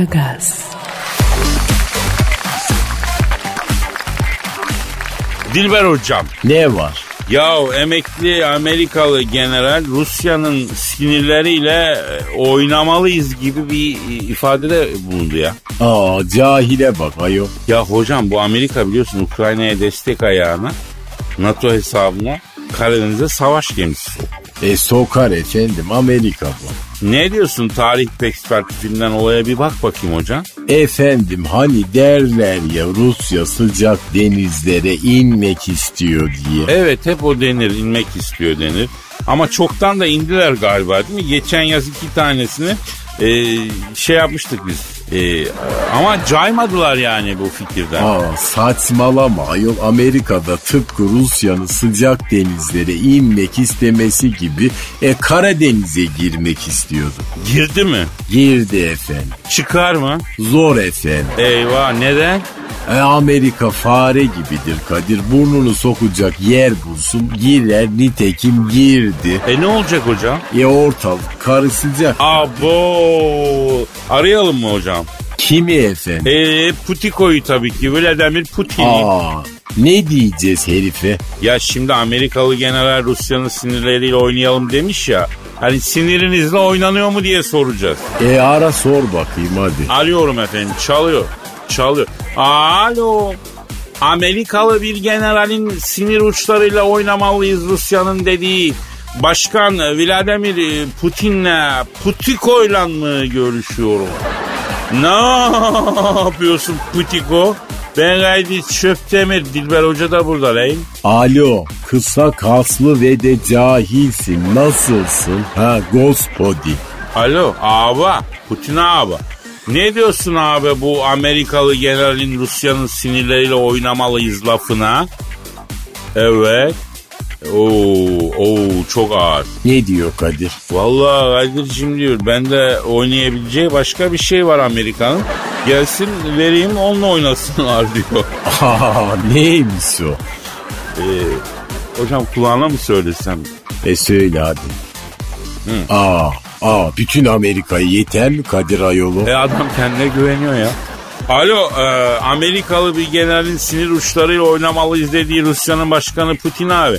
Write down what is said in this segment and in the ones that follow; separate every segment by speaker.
Speaker 1: Aragaz,
Speaker 2: Dilber hocam.
Speaker 3: Ne var?
Speaker 2: Ya emekli Amerikalı general Rusya'nın sinirleriyle e, oynamalıyız gibi bir ifadede bulundu ya.
Speaker 3: Aa cahile bak ayol.
Speaker 2: Ya hocam bu Amerika biliyorsun Ukrayna'ya destek ayağına NATO hesabına Karadeniz'e savaş gemisi soktu.
Speaker 3: E sokar efendim Amerika bu.
Speaker 2: Ne diyorsun tarih perspektifinden olaya bir bak bakayım hocam.
Speaker 3: Efendim hani derler ya Rusya sıcak denizlere inmek istiyor diye.
Speaker 2: Evet hep o denir inmek istiyor denir. Ama çoktan da indiler galiba değil mi? Geçen yaz iki tanesini e, şey yapmıştık biz. E, ama caymadılar yani bu fikirden.
Speaker 3: Aa saçmalama ayol Amerika'da tıpkı Rusya'nın sıcak denizlere inmek istemesi gibi e, Karadeniz'e girmek istiyordu.
Speaker 2: Girdi mi?
Speaker 3: Girdi efendim.
Speaker 2: Çıkar mı?
Speaker 3: Zor efendim.
Speaker 2: Eyvah neden?
Speaker 3: E, Amerika fare gibidir Kadir. Burnunu sokacak yer bulsun girer nitekim girdi.
Speaker 2: E ne olacak hocam?
Speaker 3: E ortalık karışacak.
Speaker 2: Abo. Arayalım mı hocam?
Speaker 3: Kimi efendim?
Speaker 2: E Putiko'yu tabii ki Vladimir Putin'i.
Speaker 3: Aa ne diyeceğiz herife?
Speaker 2: Ya şimdi Amerikalı general Rusya'nın sinirleriyle oynayalım demiş ya. Hani sinirinizle oynanıyor mu diye soracağız.
Speaker 3: E ara sor bakayım hadi.
Speaker 2: Arıyorum efendim çalıyor. Çalıyor. Alo. Amerikalı bir generalin sinir uçlarıyla oynamalıyız Rusya'nın dediği Başkan Vladimir Putin'le Putiko'yla mı görüşüyorum? Ne yapıyorsun Putiko? Ben gayet Çöptemir Dilber Hoca da burada lan.
Speaker 3: Alo kısa kaslı ve de cahilsin nasılsın? Ha gospodi.
Speaker 2: Alo abi Putin abi. Ne diyorsun abi bu Amerikalı generalin Rusya'nın sinirleriyle oynamalıyız lafına? Evet. Oo, oo çok ağır.
Speaker 3: Ne diyor Kadir?
Speaker 2: Vallahi Kadir'cim diyor bende oynayabileceği başka bir şey var Amerika'nın. Gelsin vereyim onunla oynasınlar diyor.
Speaker 3: Aa neymiş o?
Speaker 2: Ee, hocam kulağına mı söylesem?
Speaker 3: E söyle hadi. Aa, aa bütün Amerika'yı yeter mi Kadir Ayolu?
Speaker 2: E adam kendine güveniyor ya. Alo e, Amerikalı bir generalin sinir uçlarıyla oynamalıyız dediği Rusya'nın başkanı Putin abi.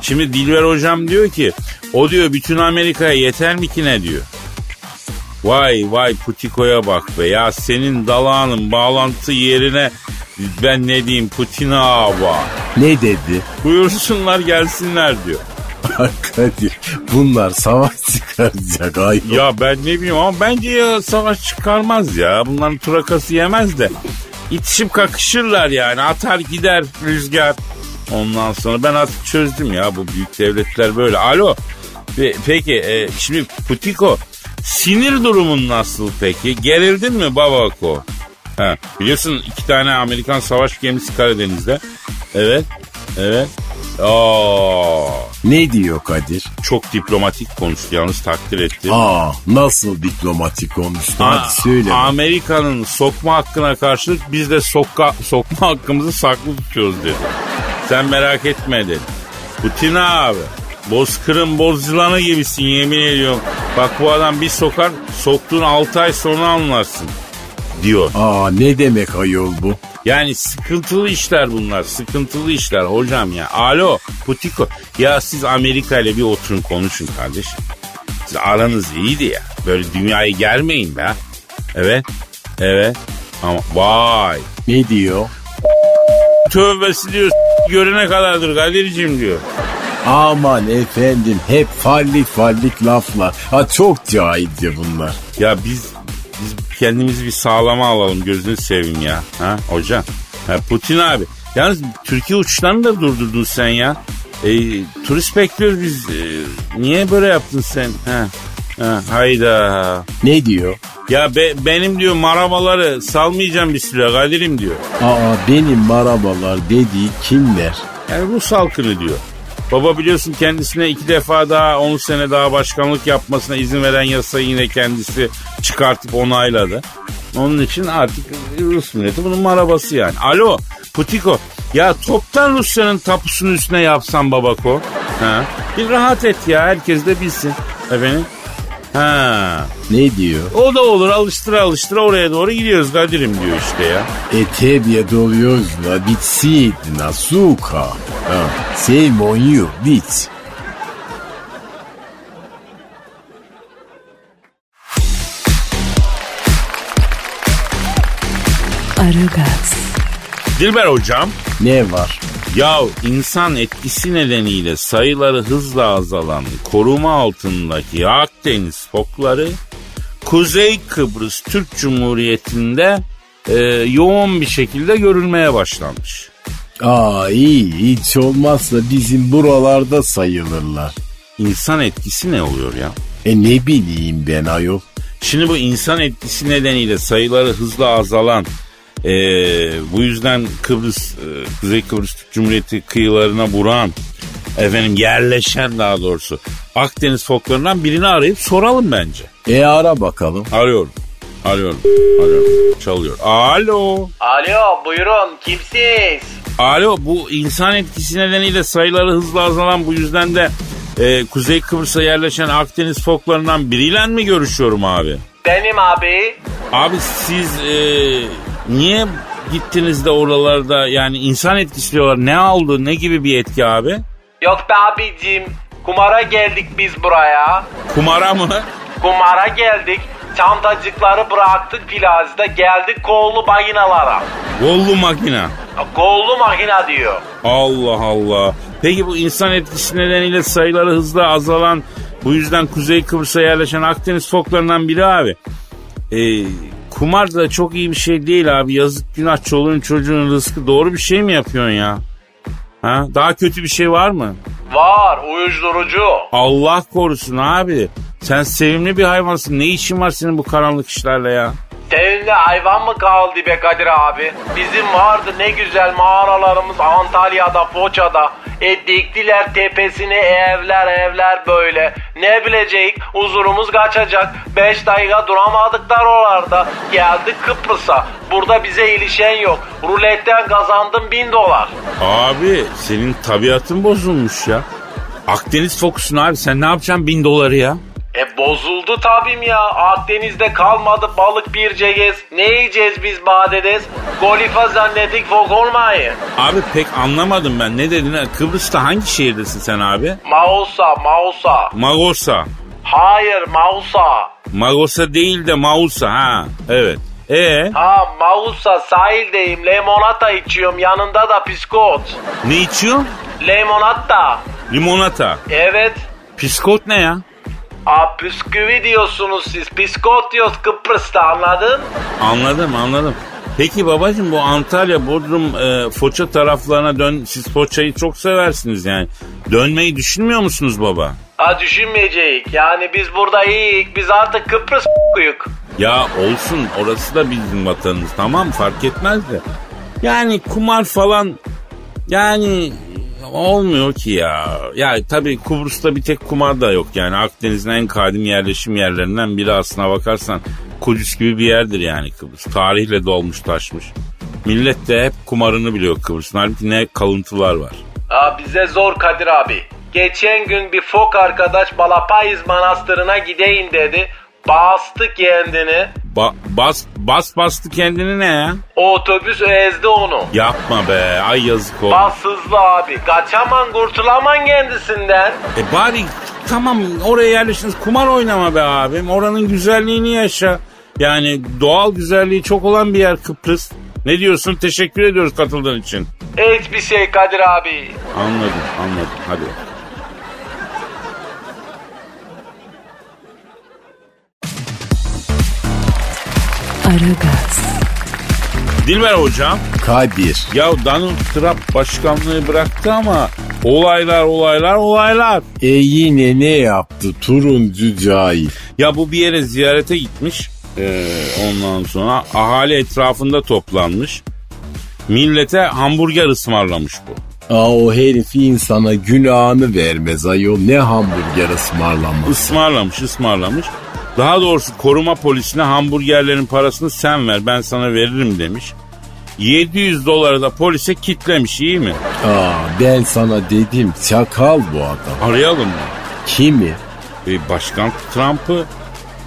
Speaker 2: Şimdi Dilber hocam diyor ki o diyor bütün Amerika'ya yeter mi ki ne diyor. Vay vay Putiko'ya bak be ya senin dalağının bağlantı yerine ben ne diyeyim Putin abi.
Speaker 3: Ne dedi?
Speaker 2: Buyursunlar gelsinler diyor.
Speaker 3: Kadir bunlar savaş çıkaracak ayol.
Speaker 2: Ya ben ne bileyim ama bence ya savaş çıkarmaz ya. Bunların turakası yemez de. İtişip kakışırlar yani. Atar gider rüzgar. Ondan sonra ben artık çözdüm ya bu büyük devletler böyle. Alo. Pe- Peki e, şimdi Putiko sinir durumun nasıl peki? Gerildin mi babako? Ha, biliyorsun iki tane Amerikan savaş gemisi Karadeniz'de. Evet. Evet. Aa,
Speaker 3: Ne diyor Kadir?
Speaker 2: çok diplomatik konuştu yalnız takdir ettim.
Speaker 3: Aa nasıl diplomatik konuştu?
Speaker 2: Aa,
Speaker 3: Hadi söyle.
Speaker 2: Amerika'nın sokma hakkına karşılık biz de sokka, sokma hakkımızı saklı tutuyoruz dedi. Sen merak etme dedi. Putin abi bozkırın boz yılanı gibisin yemin ediyorum. Bak bu adam bir sokar soktuğun 6 ay sonra anlarsın diyor.
Speaker 3: Aa ne demek ayol bu?
Speaker 2: Yani sıkıntılı işler bunlar sıkıntılı işler hocam ya. Alo Putiko ya siz Amerika ile bir oturun konuşun kardeşim. Siz aranız iyiydi ya. Böyle dünyayı germeyin be. Evet. Evet. Ama vay.
Speaker 3: Ne diyor?
Speaker 2: Tövbesi diyor görene kadardır Kadir'cim diyor.
Speaker 3: Aman efendim hep fallik fallik laflar. Ha çok cahilce bunlar.
Speaker 2: Ya biz biz kendimizi bir sağlama alalım gözünü seveyim ya. Ha hocam. Ha, Putin abi. Yalnız Türkiye uçuşlarını da durdurdun sen ya. E, turist bekliyoruz biz. E, niye böyle yaptın sen? Ha. Ha, hayda.
Speaker 3: Ne diyor?
Speaker 2: Ya be- benim diyor marabaları salmayacağım bir süre Kadir'im diyor.
Speaker 3: Aa benim marabalar dediği kimler?
Speaker 2: Yani Rus halkını diyor. Baba biliyorsun kendisine iki defa daha 10 sene daha başkanlık yapmasına izin veren yasayı yine kendisi çıkartıp onayladı. Onun için artık Rus milleti bunun marabası yani. Alo Putiko ya toptan Rusya'nın tapusunun üstüne yapsan babako. Ha? Bir rahat et ya herkes de bilsin. Efendim? Ha.
Speaker 3: Ne diyor?
Speaker 2: O da olur alıştıra alıştıra oraya doğru gidiyoruz Kadir'im diyor işte ya.
Speaker 3: Etevye E, doluyoruz la bitsit na suka. Ha, Sei monyu bit.
Speaker 1: Aragaz,
Speaker 2: Dilber hocam.
Speaker 3: Ne var?
Speaker 2: Ya insan etkisi nedeniyle sayıları hızla azalan koruma altındaki Akdeniz fokları Kuzey Kıbrıs Türk Cumhuriyeti'nde e, yoğun bir şekilde görülmeye başlanmış.
Speaker 3: Aa iyi hiç olmazsa bizim buralarda sayılırlar.
Speaker 2: İnsan etkisi ne oluyor ya?
Speaker 3: E ne bileyim ben ayol.
Speaker 2: Şimdi bu insan etkisi nedeniyle sayıları hızla azalan e, bu yüzden Kıbrıs e, Kuzey Kıbrıs Türk Cumhuriyeti kıyılarına vuran efendim yerleşen daha doğrusu Akdeniz foklarından birini arayıp soralım bence.
Speaker 3: E ara bakalım.
Speaker 2: Arıyorum. Arıyorum. Arıyorum. Çalıyor. Alo.
Speaker 4: Alo buyurun kimsiz?
Speaker 2: Alo bu insan etkisi nedeniyle sayıları hızla azalan bu yüzden de e, Kuzey Kıbrıs'a yerleşen Akdeniz foklarından biriyle mi görüşüyorum abi?
Speaker 4: Benim abi.
Speaker 2: Abi siz e, niye gittiniz de oralarda yani insan etkisi diyorlar. Ne aldı ne gibi bir etki abi?
Speaker 4: Yok be abicim kumara geldik biz buraya.
Speaker 2: Kumara mı?
Speaker 4: Kumara geldik. Çantacıkları bıraktık plajda geldik kollu bayınalara.
Speaker 2: Gollu makina.
Speaker 4: Kollu makina diyor.
Speaker 2: Allah Allah. Peki bu insan etkisi nedeniyle sayıları hızla azalan bu yüzden Kuzey Kıbrıs'a yerleşen Akdeniz foklarından biri abi. Ee, kumar da çok iyi bir şey değil abi. Yazık günah çoluğun çocuğun rızkı doğru bir şey mi yapıyorsun ya? Ha? Daha kötü bir şey var mı?
Speaker 4: Var uyuşturucu.
Speaker 2: Allah korusun abi. Sen sevimli bir hayvansın. Ne işin var senin bu karanlık işlerle ya?
Speaker 4: Seninle hayvan mı kaldı be Kadir abi? Bizim vardı ne güzel mağaralarımız Antalya'da, Foça'da. E diktiler tepesine evler evler böyle. Ne bilecek huzurumuz kaçacak. Beş dakika duramadıklar oralarda. Geldik Kıbrıs'a. Burada bize ilişen yok. Ruletten kazandım bin dolar.
Speaker 2: Abi senin tabiatın bozulmuş ya. Akdeniz fokusun abi. Sen ne yapacaksın bin doları ya?
Speaker 4: E bozuldu tabim ya. Akdeniz'de kalmadı balık bir cegez. Ne yiyeceğiz biz badedes? Golifa zannettik fok olmayı.
Speaker 2: Abi pek anlamadım ben. Ne dedin? ha? Kıbrıs'ta hangi şehirdesin sen abi?
Speaker 4: Mausa, Mausa.
Speaker 2: Magosa.
Speaker 4: Hayır, Mausa.
Speaker 2: Magosa değil de Mausa ha. Evet. E
Speaker 4: Ha, Mausa sahildeyim. Limonata içiyorum. Yanında da biskot.
Speaker 2: ne içiyorsun?
Speaker 4: Limonata.
Speaker 2: Limonata.
Speaker 4: Evet.
Speaker 2: Piskot ne ya?
Speaker 4: Aa, bisküvi diyorsunuz siz. Biskot diyoruz Kıbrıs'ta anladın?
Speaker 2: Anladım anladım. Peki babacığım bu Antalya, Bodrum, e, Foça taraflarına dön. Siz Foça'yı çok seversiniz yani. Dönmeyi düşünmüyor musunuz baba?
Speaker 4: Ha düşünmeyecek. Yani biz burada iyiyiz. Biz artık Kıbrıs kuyuk.
Speaker 2: Ya olsun orası da bizim vatanımız tamam fark etmez de. Yani kumar falan yani olmuyor ki ya. Ya tabii Kıbrıs'ta bir tek kumar da yok yani. Akdeniz'in en kadim yerleşim yerlerinden biri aslına bakarsan Kudüs gibi bir yerdir yani Kıbrıs. Tarihle dolmuş taşmış. Millet de hep kumarını biliyor Kıbrıs'ın. Halbuki ne kalıntılar var.
Speaker 4: Aa, bize zor Kadir abi. Geçen gün bir fok arkadaş Balapayız Manastırı'na gideyim dedi. Bastı kendini.
Speaker 2: Ba- bas, bas bastı kendini ne ya?
Speaker 4: O otobüs ezdi onu.
Speaker 2: Yapma be ay yazık oldu.
Speaker 4: Bas hızlı abi. Kaçaman kurtulaman kendisinden.
Speaker 2: E bari tamam oraya yerleştiniz kumar oynama be abim. Oranın güzelliğini yaşa. Yani doğal güzelliği çok olan bir yer Kıbrıs. Ne diyorsun? Teşekkür ediyoruz katıldığın için.
Speaker 4: Hiçbir şey Kadir abi.
Speaker 2: Anladım, anladım. Hadi. bak.
Speaker 1: Aragaz,
Speaker 2: Dilber hocam.
Speaker 3: Kadir.
Speaker 2: Ya Donald Trump başkanlığı bıraktı ama olaylar olaylar olaylar.
Speaker 3: E yine ne yaptı turuncu cahil?
Speaker 2: Ya bu bir yere ziyarete gitmiş. Ee, ondan sonra ahali etrafında toplanmış. Millete hamburger ısmarlamış bu.
Speaker 3: Aa o herif insana günahını vermez ayol ne hamburger ısmarlamaz.
Speaker 2: Ismarlamış ısmarlamış. Daha doğrusu koruma polisine hamburgerlerin parasını sen ver ben sana veririm demiş. 700 doları da polise kitlemiş iyi mi?
Speaker 3: Aa ben sana dedim çakal bu adam.
Speaker 2: Arayalım mı?
Speaker 3: Kimi?
Speaker 2: E, Başkan Trump'ı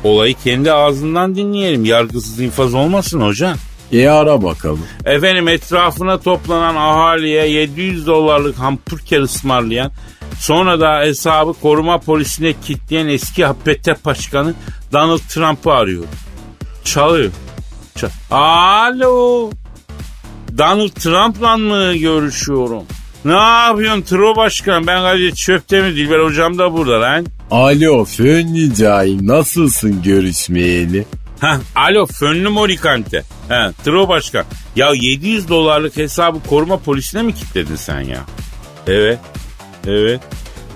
Speaker 2: Olayı kendi ağzından dinleyelim. Yargısız infaz olmasın hocam.
Speaker 3: E ara bakalım.
Speaker 2: Efendim etrafına toplanan ahaliye 700 dolarlık hamburger ısmarlayan sonra da hesabı koruma polisine kitleyen eski HPT başkanı Donald Trump'ı arıyor. Çalıyor. Çal- Alo. Donald Trump'la mı görüşüyorum? Ne yapıyorsun Tro Başkan? Ben Kadir Çöpte mi? Dilber Hocam da burada lan.
Speaker 3: Alo Fönnicayim nasılsın görüşmeyeli?
Speaker 2: Heh, alo Fönlü Morikante. He, Tro Başkan. Ya 700 dolarlık hesabı koruma polisine mi kilitledin sen ya? Evet. Evet.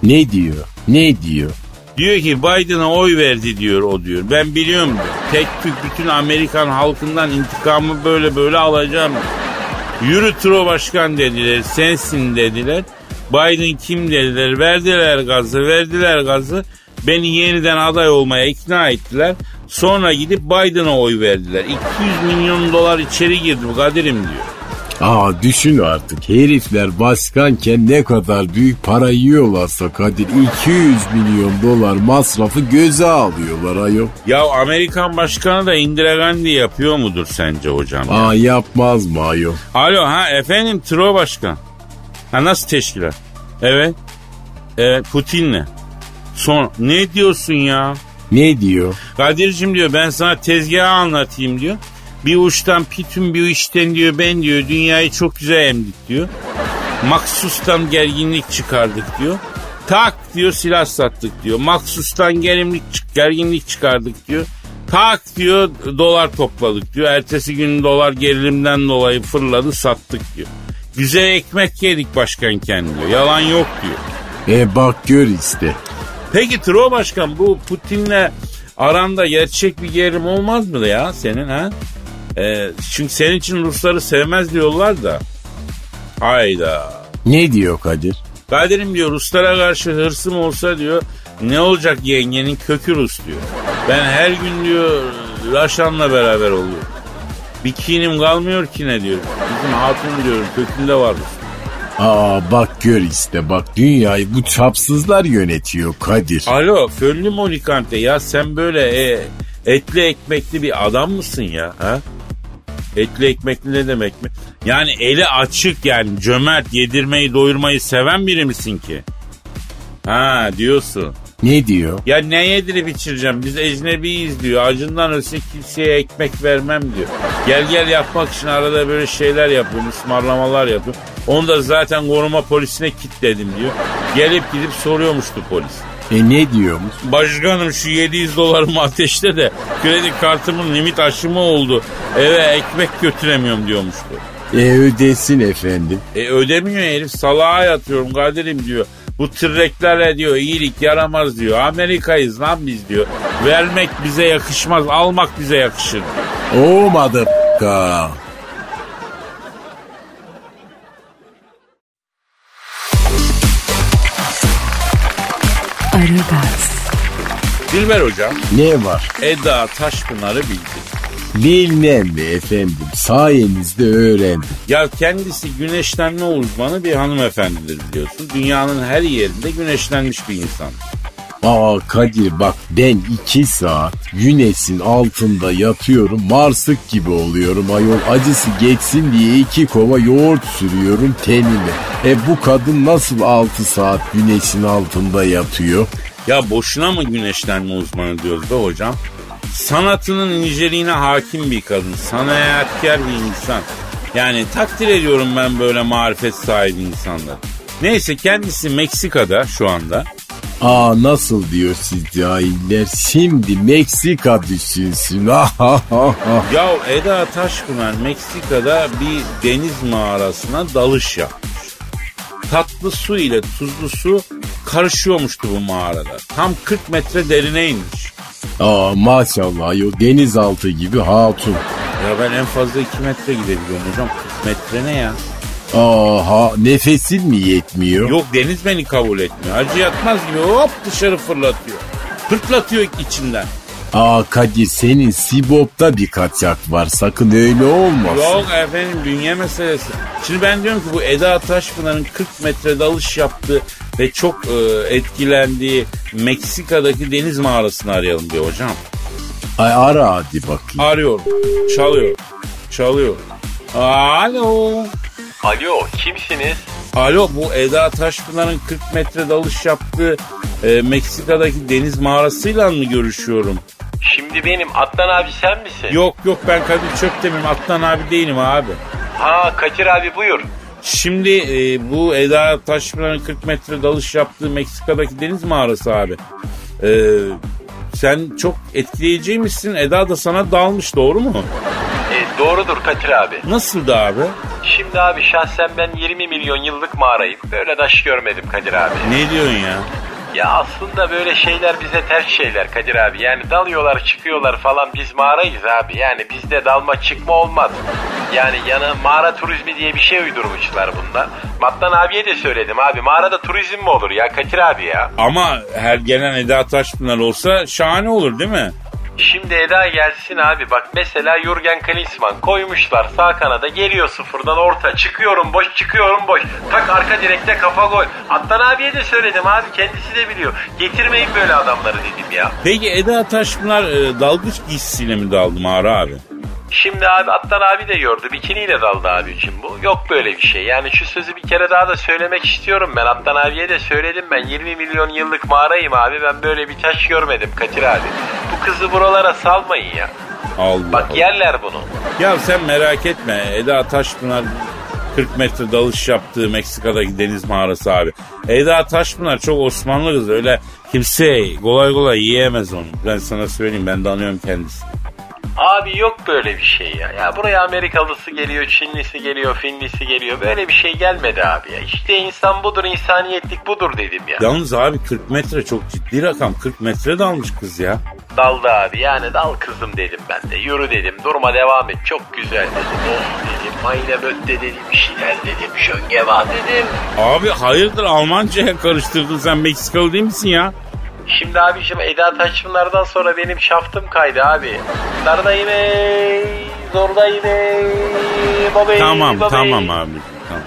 Speaker 3: Ne diyor? Ne diyor?
Speaker 2: Diyor ki Biden'a oy verdi diyor o diyor. Ben biliyorum diyor. Tek tük bütün Amerikan halkından intikamı böyle böyle alacağım. Yürü Tro Başkan dediler. Sensin dediler. Biden kim dediler. Verdiler gazı verdiler gazı. Beni yeniden aday olmaya ikna ettiler. Sonra gidip Biden'a oy verdiler. 200 milyon dolar içeri girdi bu Kadir'im diyor.
Speaker 3: Aa düşün artık herifler başkanken ne kadar büyük para yiyorlarsa Kadir 200 milyon dolar masrafı göze alıyorlar ayol.
Speaker 2: Ya Amerikan başkanı da Indira Gandhi yapıyor mudur sence hocam? ya?
Speaker 3: Aa yapmaz mı ayol?
Speaker 2: Alo ha efendim Tro Başkan. Ha nasıl teşkilat? Evet. Evet Putin'le. Son ne diyorsun ya?
Speaker 3: Ne diyor?
Speaker 2: Kadir'cim diyor ben sana tezgahı anlatayım diyor. Bir uçtan pitüm bir işten diyor ben diyor dünyayı çok güzel emdik diyor. Maksustan gerginlik çıkardık diyor. Tak diyor silah sattık diyor. Maksustan gerimlik, çık- gerginlik çıkardık diyor. Tak diyor dolar topladık diyor. Ertesi gün dolar gerilimden dolayı fırladı sattık diyor. Güzel ekmek yedik başkanken diyor. Yalan yok diyor.
Speaker 3: E bak gör işte.
Speaker 2: Peki Tro Başkan bu Putin'le aranda gerçek bir gerilim olmaz mı ya senin ha? Ee, çünkü senin için Rusları sevmez diyorlar da. Hayda.
Speaker 3: Ne diyor Kadir?
Speaker 2: Kadir'im diyor Ruslara karşı hırsım olsa diyor ne olacak yengenin kökü Rus diyor. Ben her gün diyor Raşan'la beraber oluyorum. Bikinim kalmıyor ki ne diyor. Bizim hatun diyor kökünde var Rus.
Speaker 3: Aa bak gör işte bak dünyayı bu çapsızlar yönetiyor Kadir.
Speaker 2: Alo Fönlü Monikante ya sen böyle e, etli ekmekli bir adam mısın ya? Ha? Etli ekmekli ne demek mi? Yani eli açık yani cömert yedirmeyi doyurmayı seven biri misin ki? Ha diyorsun.
Speaker 3: Ne diyor?
Speaker 2: Ya ne yedirip içireceğim biz ecnebiyiz diyor. Acından ölsün kimseye ekmek vermem diyor. Gel gel yapmak için arada böyle şeyler yapıyorum ısmarlamalar yapıyorum. Onu da zaten koruma polisine kitledim diyor. Gelip gidip soruyormuştu polis.
Speaker 3: E ne diyormuş?
Speaker 2: Başkanım şu 700 dolarımı ateşle de kredi kartımın limit aşımı oldu. Eve ekmek götüremiyorum diyormuştu.
Speaker 3: E ödesin efendim.
Speaker 2: E ödemiyor herif salağa yatıyorum Kadir'im diyor. Bu tırreklerle diyor iyilik yaramaz diyor. Amerika'yız lan biz diyor. Vermek bize yakışmaz almak bize yakışır.
Speaker 3: Olmadı ka.
Speaker 1: Aragaz,
Speaker 2: Dilber hocam
Speaker 3: Ne var?
Speaker 2: Eda Taşpınar'ı bildi.
Speaker 3: Bilmem mi efendim sayenizde öğrendim.
Speaker 2: Ya kendisi güneşlenme uzmanı bir hanımefendidir biliyorsun. Dünyanın her yerinde güneşlenmiş bir insan.
Speaker 3: Aa Kadir bak ben iki saat güneşin altında yatıyorum marsık gibi oluyorum ayol acısı geçsin diye iki kova yoğurt sürüyorum tenime. E bu kadın nasıl altı saat güneşin altında yatıyor?
Speaker 2: Ya boşuna mı güneşlenme uzmanı diyoruz da hocam? Sanatının inceliğine hakim bir kadın. Sanatkar bir insan. Yani takdir ediyorum ben böyle marifet sahibi insanları. Neyse kendisi Meksika'da şu anda.
Speaker 3: Aa nasıl diyor siz cahiller şimdi Meksika düşünsün.
Speaker 2: Ya Eda Taşkınar Meksika'da bir deniz mağarasına dalış yapmış. Tatlı su ile tuzlu su karışıyormuştu bu mağarada. Tam 40 metre derine inmiş.
Speaker 3: Aa maşallah ayol denizaltı gibi hatun.
Speaker 2: Ya ben en fazla 2 metre gidebiliyorum hocam. 40 metre ne ya?
Speaker 3: Aha nefesin mi yetmiyor?
Speaker 2: Yok deniz beni kabul etmiyor. Acı yatmaz gibi hop dışarı fırlatıyor. Pırtlatıyor içinden.
Speaker 3: Aa Kadir senin Sibop'ta bir kaçak var sakın öyle olmasın.
Speaker 2: Yok efendim dünya meselesi. Şimdi ben diyorum ki bu Eda Taşpınar'ın 40 metre dalış yaptığı ve çok e, etkilendiği Meksika'daki deniz mağarasını arayalım diyor hocam.
Speaker 3: Ay ara hadi bakayım.
Speaker 2: Arıyorum. Çalıyor. Çalıyor. Alo.
Speaker 4: Alo kimsiniz?
Speaker 2: Alo bu Eda Taşpınar'ın 40 metre dalış yaptığı e, Meksika'daki deniz mağarasıyla mı görüşüyorum?
Speaker 4: Şimdi benim Adnan abi sen misin?
Speaker 2: Yok yok ben Kadir Çöptemir Atlan abi değilim abi.
Speaker 4: Ha Kadir abi buyur.
Speaker 2: Şimdi e, bu Eda Taşpınar'ın 40 metre dalış yaptığı Meksika'daki deniz mağarası abi. E, sen çok etkileyiciymişsin. Eda da sana dalmış doğru mu?
Speaker 4: E, doğrudur Kadir abi.
Speaker 2: Nasıldı abi?
Speaker 4: Şimdi abi şahsen ben 20 milyon yıllık mağarayım. Böyle taş görmedim Kadir abi.
Speaker 2: Ne diyorsun ya?
Speaker 4: Ya aslında böyle şeyler bize ters şeyler Kadir abi. Yani dalıyorlar çıkıyorlar falan biz mağarayız abi. Yani bizde dalma çıkma olmaz. Yani yana mağara turizmi diye bir şey uydurmuşlar bunlar. Mattan abiye de söyledim abi. Mağarada turizm mi olur ya Kadir abi ya?
Speaker 2: Ama her gelen Eda Taşpınar olsa şahane olur değil mi?
Speaker 4: Şimdi Eda gelsin abi. Bak mesela Jurgen Klinsmann koymuşlar sağ kanada geliyor sıfırdan orta. Çıkıyorum boş çıkıyorum boş. Tak arka direkte kafa gol. Attan abiye de söyledim abi kendisi de biliyor. Getirmeyin böyle adamları dedim ya.
Speaker 2: Peki Eda Taşpınar e, dalgıç giysisiyle mi daldı mağara abi?
Speaker 4: Şimdi abi Attan abi de yordu. Bikiniyle daldı abi için bu. Yok böyle bir şey. Yani şu sözü bir kere daha da söylemek istiyorum ben. Attan abiye de söyledim ben. 20 milyon yıllık mağarayım abi. Ben böyle bir taş görmedim Kadir abi. Bu kızı buralara salmayın ya.
Speaker 2: Allah
Speaker 4: Bak
Speaker 2: Allah.
Speaker 4: yerler bunu.
Speaker 2: Ya sen merak etme Eda Taşpınar 40 metre dalış yaptığı Meksika'daki deniz mağarası abi. Eda Taşpınar çok Osmanlı kızı öyle kimse kolay kolay yiyemez onu. Ben sana söyleyeyim ben de anıyorum kendisini.
Speaker 4: Abi yok böyle bir şey ya. Ya buraya Amerikalısı geliyor, Çinlisi geliyor, Finlisi geliyor. Böyle bir şey gelmedi abi ya. İşte insan budur, insaniyetlik budur dedim ya.
Speaker 2: Yalnız abi 40 metre çok ciddi rakam 40 metre dalmış kız ya.
Speaker 4: Daldı abi yani dal kızım dedim ben de. Yürü dedim durma devam et çok güzel dedim. Of dedim mayne bötte dedim bir şeyler dedim. Şöngeva dedim.
Speaker 2: Abi hayırdır Almanca'ya karıştırdın sen Meksikalı değil misin ya?
Speaker 4: Şimdi abiciğim Eda Taşpınar'dan sonra benim şaftım kaydı abi. Dardayım ey, zordayım ey, babey,
Speaker 2: Tamam
Speaker 4: babey.
Speaker 2: tamam abi. Tamam.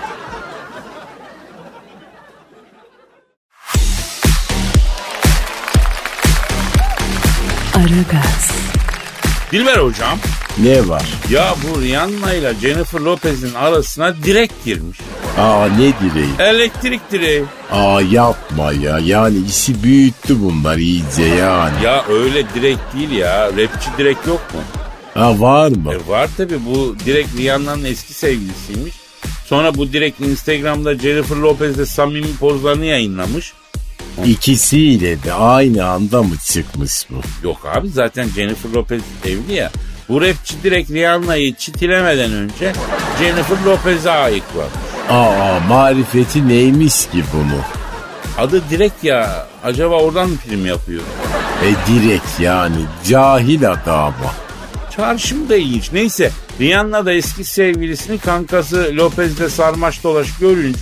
Speaker 1: Aragaz,
Speaker 2: Dilber hocam
Speaker 3: Ne var?
Speaker 2: ya bu Rihanna ile Jennifer Lopez'in arasına direkt girmiş.
Speaker 3: Aa ne direği?
Speaker 2: Elektrik direği.
Speaker 3: Aa yapma ya. Yani işi büyüttü bunlar iyice yani.
Speaker 2: Ya öyle direkt değil ya. Rapçi direkt yok mu?
Speaker 3: Ha var mı?
Speaker 2: E var tabi bu direkt Rihanna'nın eski sevgilisiymiş. Sonra bu direkt Instagram'da Jennifer Lopez'le samimi pozlarını yayınlamış.
Speaker 3: İkisiyle de aynı anda mı çıkmış bu?
Speaker 2: Yok abi zaten Jennifer Lopez evli ya. Bu rapçi direkt Rihanna'yı çitilemeden önce Jennifer Lopez'e ayıkladı.
Speaker 3: Aa marifeti neymiş ki bunu?
Speaker 2: Adı direkt ya. Acaba oradan mı film yapıyor?
Speaker 3: E direkt yani cahil adama.
Speaker 2: Çarşım da ilginç. Neyse Rihanna da eski sevgilisini kankası Lopez'de sarmaş dolaş görünce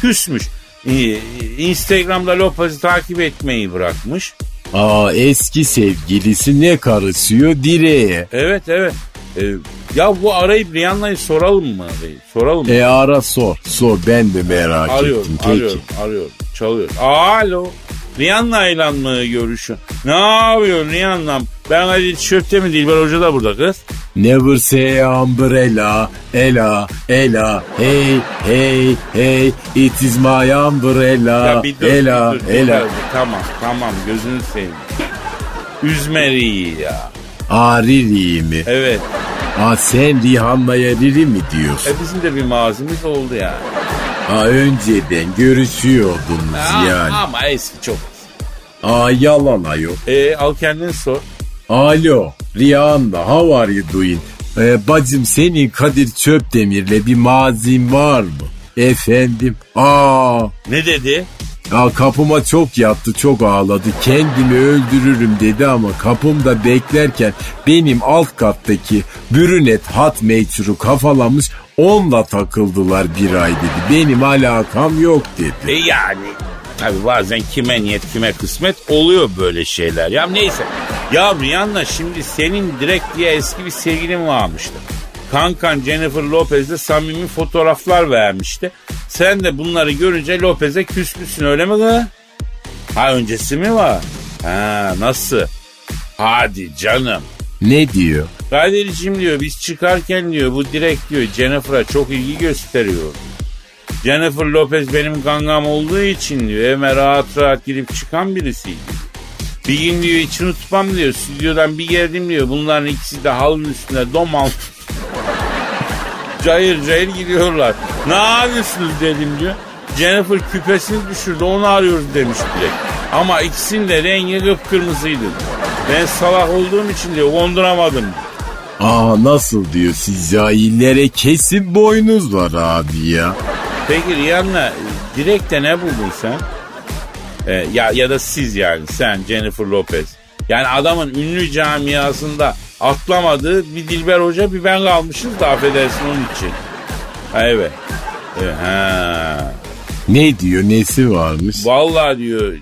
Speaker 2: küsmüş. Ee, Instagram'da Lopez'i takip etmeyi bırakmış.
Speaker 3: Aa eski sevgilisi ne karışıyor direğe.
Speaker 2: Evet evet. Ee, ya bu arayıp Rihanna'yı soralım mı? Bey? Soralım mı?
Speaker 3: E ara sor. Sor ben de merak
Speaker 2: arıyorum,
Speaker 3: ettim. Peki.
Speaker 2: arıyorum, arıyorum. Çalıyor. Alo. Rihanna ile mi görüşün? Ne yapıyorsun Rihanna'm? Ben Ali Çöp'te mi değil? Ben hoca da burada kız.
Speaker 3: Never say umbrella, ela, ela, hey, hey, hey, it is my umbrella,
Speaker 2: Ya bir dur,
Speaker 3: ela,
Speaker 2: bir dur, dur
Speaker 3: ela.
Speaker 2: biraz. Tamam, tamam. Gözünü seveyim. Üzme Rihanna ya.
Speaker 3: Aa Riri mi?
Speaker 2: Evet.
Speaker 3: Aa sen Rihanna'ya Riri mi diyorsun?
Speaker 2: E bizim de bir mazimiz oldu yani.
Speaker 3: Aa önceden görüşüyordunuz yani.
Speaker 2: Ama, ama eski çok.
Speaker 3: Aa yalan ayol.
Speaker 2: E, al kendin sor.
Speaker 3: Alo Rihanna how are you doing? Ee, bacım senin Kadir Çöpdemir'le bir mazin var mı? Efendim? Aa,
Speaker 2: Ne dedi?
Speaker 3: ya kapıma çok yattı çok ağladı kendimi öldürürüm dedi ama kapımda beklerken benim alt kattaki bürünet hat meçhuru kafalamış onunla takıldılar bir ay dedi. Benim alakam yok
Speaker 2: E
Speaker 3: dedi.
Speaker 2: yani tabi bazen kime niyet kime kısmet oluyor böyle şeyler. Ya neyse. Ya Rihanna şimdi senin direkt diye eski bir sevgilin varmıştı. Kankan Jennifer Lopez'le samimi fotoğraflar vermişti. Sen de bunları görünce Lopez'e küsmüşsün öyle mi kız? Ha öncesi mi var? Ha nasıl? Hadi canım.
Speaker 3: Ne diyor?
Speaker 2: Kadir'cim diyor biz çıkarken diyor bu direkt diyor Jennifer'a çok ilgi gösteriyor. Jennifer Lopez benim gangam olduğu için diyor evime rahat rahat girip çıkan birisiydi. Bir gün diyor içini tutmam diyor stüdyodan bir geldim diyor bunların ikisi de halının üstünde dom alt. cayır cayır gidiyorlar. Ne yapıyorsunuz dedim diyor. Jennifer küpesini düşürdü onu arıyoruz demiş direkt. Ama ikisinin de rengi kıpkırmızıydı. Ben salak olduğum için diyor konduramadım.
Speaker 3: Aa nasıl diyor siz cahillere kesin boynuz var abi ya.
Speaker 2: Peki Rihanna direkt de ne buldun sen? Ee, ya ya da siz yani sen Jennifer Lopez. Yani adamın ünlü camiasında atlamadığı bir Dilber Hoca bir ben kalmışız da affedersin onun için. Ha, evet. Evet, ha.
Speaker 3: Ne diyor nesi varmış?
Speaker 2: Vallahi diyor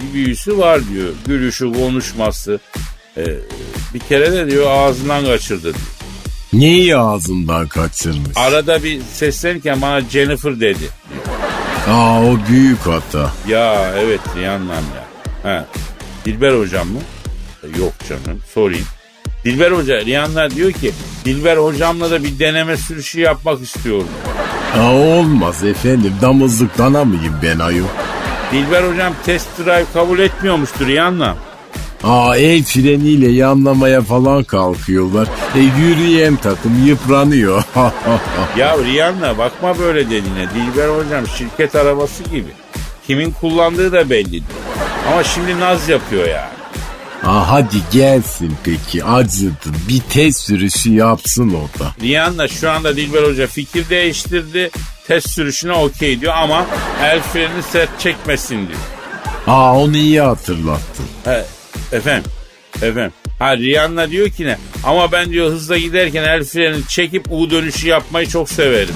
Speaker 2: bir büyüsü var diyor. Gülüşü, konuşması. Ee, bir kere de diyor ağzından kaçırdı diyor.
Speaker 3: Neyi ağzından kaçırmış?
Speaker 2: Arada bir seslenirken bana Jennifer dedi.
Speaker 3: Aa o büyük hata.
Speaker 2: Ya evet Rihanna ya. Ha. Dilber hocam mı? E, Yok canım sorayım. Dilber hoca Rihanna diyor ki Dilber hocamla da bir deneme sürüşü yapmak istiyorum.
Speaker 3: Aa olmaz efendim damızlık dana mıyım ben ayol?
Speaker 2: Dilber hocam test drive kabul etmiyormuştur Rihanna.
Speaker 3: Aa el freniyle yanlamaya falan kalkıyorlar. E yürüyen takım yıpranıyor.
Speaker 2: Ya Rihanna bakma böyle dediğine. Dilber hocam şirket arabası gibi. Kimin kullandığı da belli. Ama şimdi naz yapıyor yani.
Speaker 3: Aa hadi gelsin peki acıdı. Bir test sürüşü yapsın o da.
Speaker 2: Rihanna şu anda Dilber Hoca fikir değiştirdi. Test sürüşüne okey diyor ama el frenini sert çekmesin diyor.
Speaker 3: Aa onu iyi hatırlattın.
Speaker 2: He, efendim, efendim. Ha Rihanna diyor ki ne? Ama ben diyor hızla giderken el frenini çekip U dönüşü yapmayı çok severim.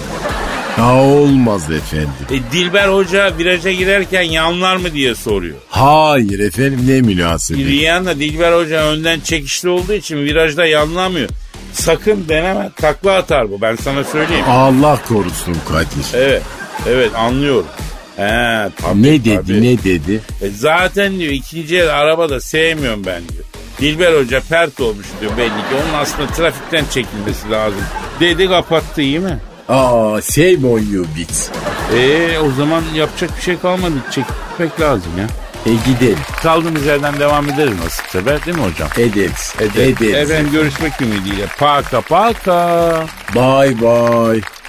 Speaker 3: Aa olmaz efendim.
Speaker 2: E, Dilber Hoca viraja girerken yanlar mı diye soruyor. E,
Speaker 3: Hayır efendim ne münasebet.
Speaker 2: Rihanna Dilber Hoca önden çekişli olduğu için virajda yanlamıyor. Sakın deneme takla atar bu ben sana söyleyeyim.
Speaker 3: Allah korusun Kadir.
Speaker 2: Evet, evet anlıyorum. He, tabii,
Speaker 3: ne dedi
Speaker 2: tabii.
Speaker 3: ne dedi?
Speaker 2: E zaten diyor ikinci el araba da sevmiyorum ben diyor. Dilber Hoca pert olmuş diyor belli ki. Onun aslında trafikten çekilmesi lazım. Dedi kapattı iyi mi?
Speaker 3: Aa şey boyu bit.
Speaker 2: E o zaman yapacak bir şey kalmadı. Çekmek lazım ya.
Speaker 3: E gidelim
Speaker 2: Kaldığımız yerden devam ederiz nasipse be değil mi hocam?
Speaker 3: ederiz ederiz.
Speaker 2: Efendim görüşmek ümidiyle. Paka paka.
Speaker 3: Bye bye.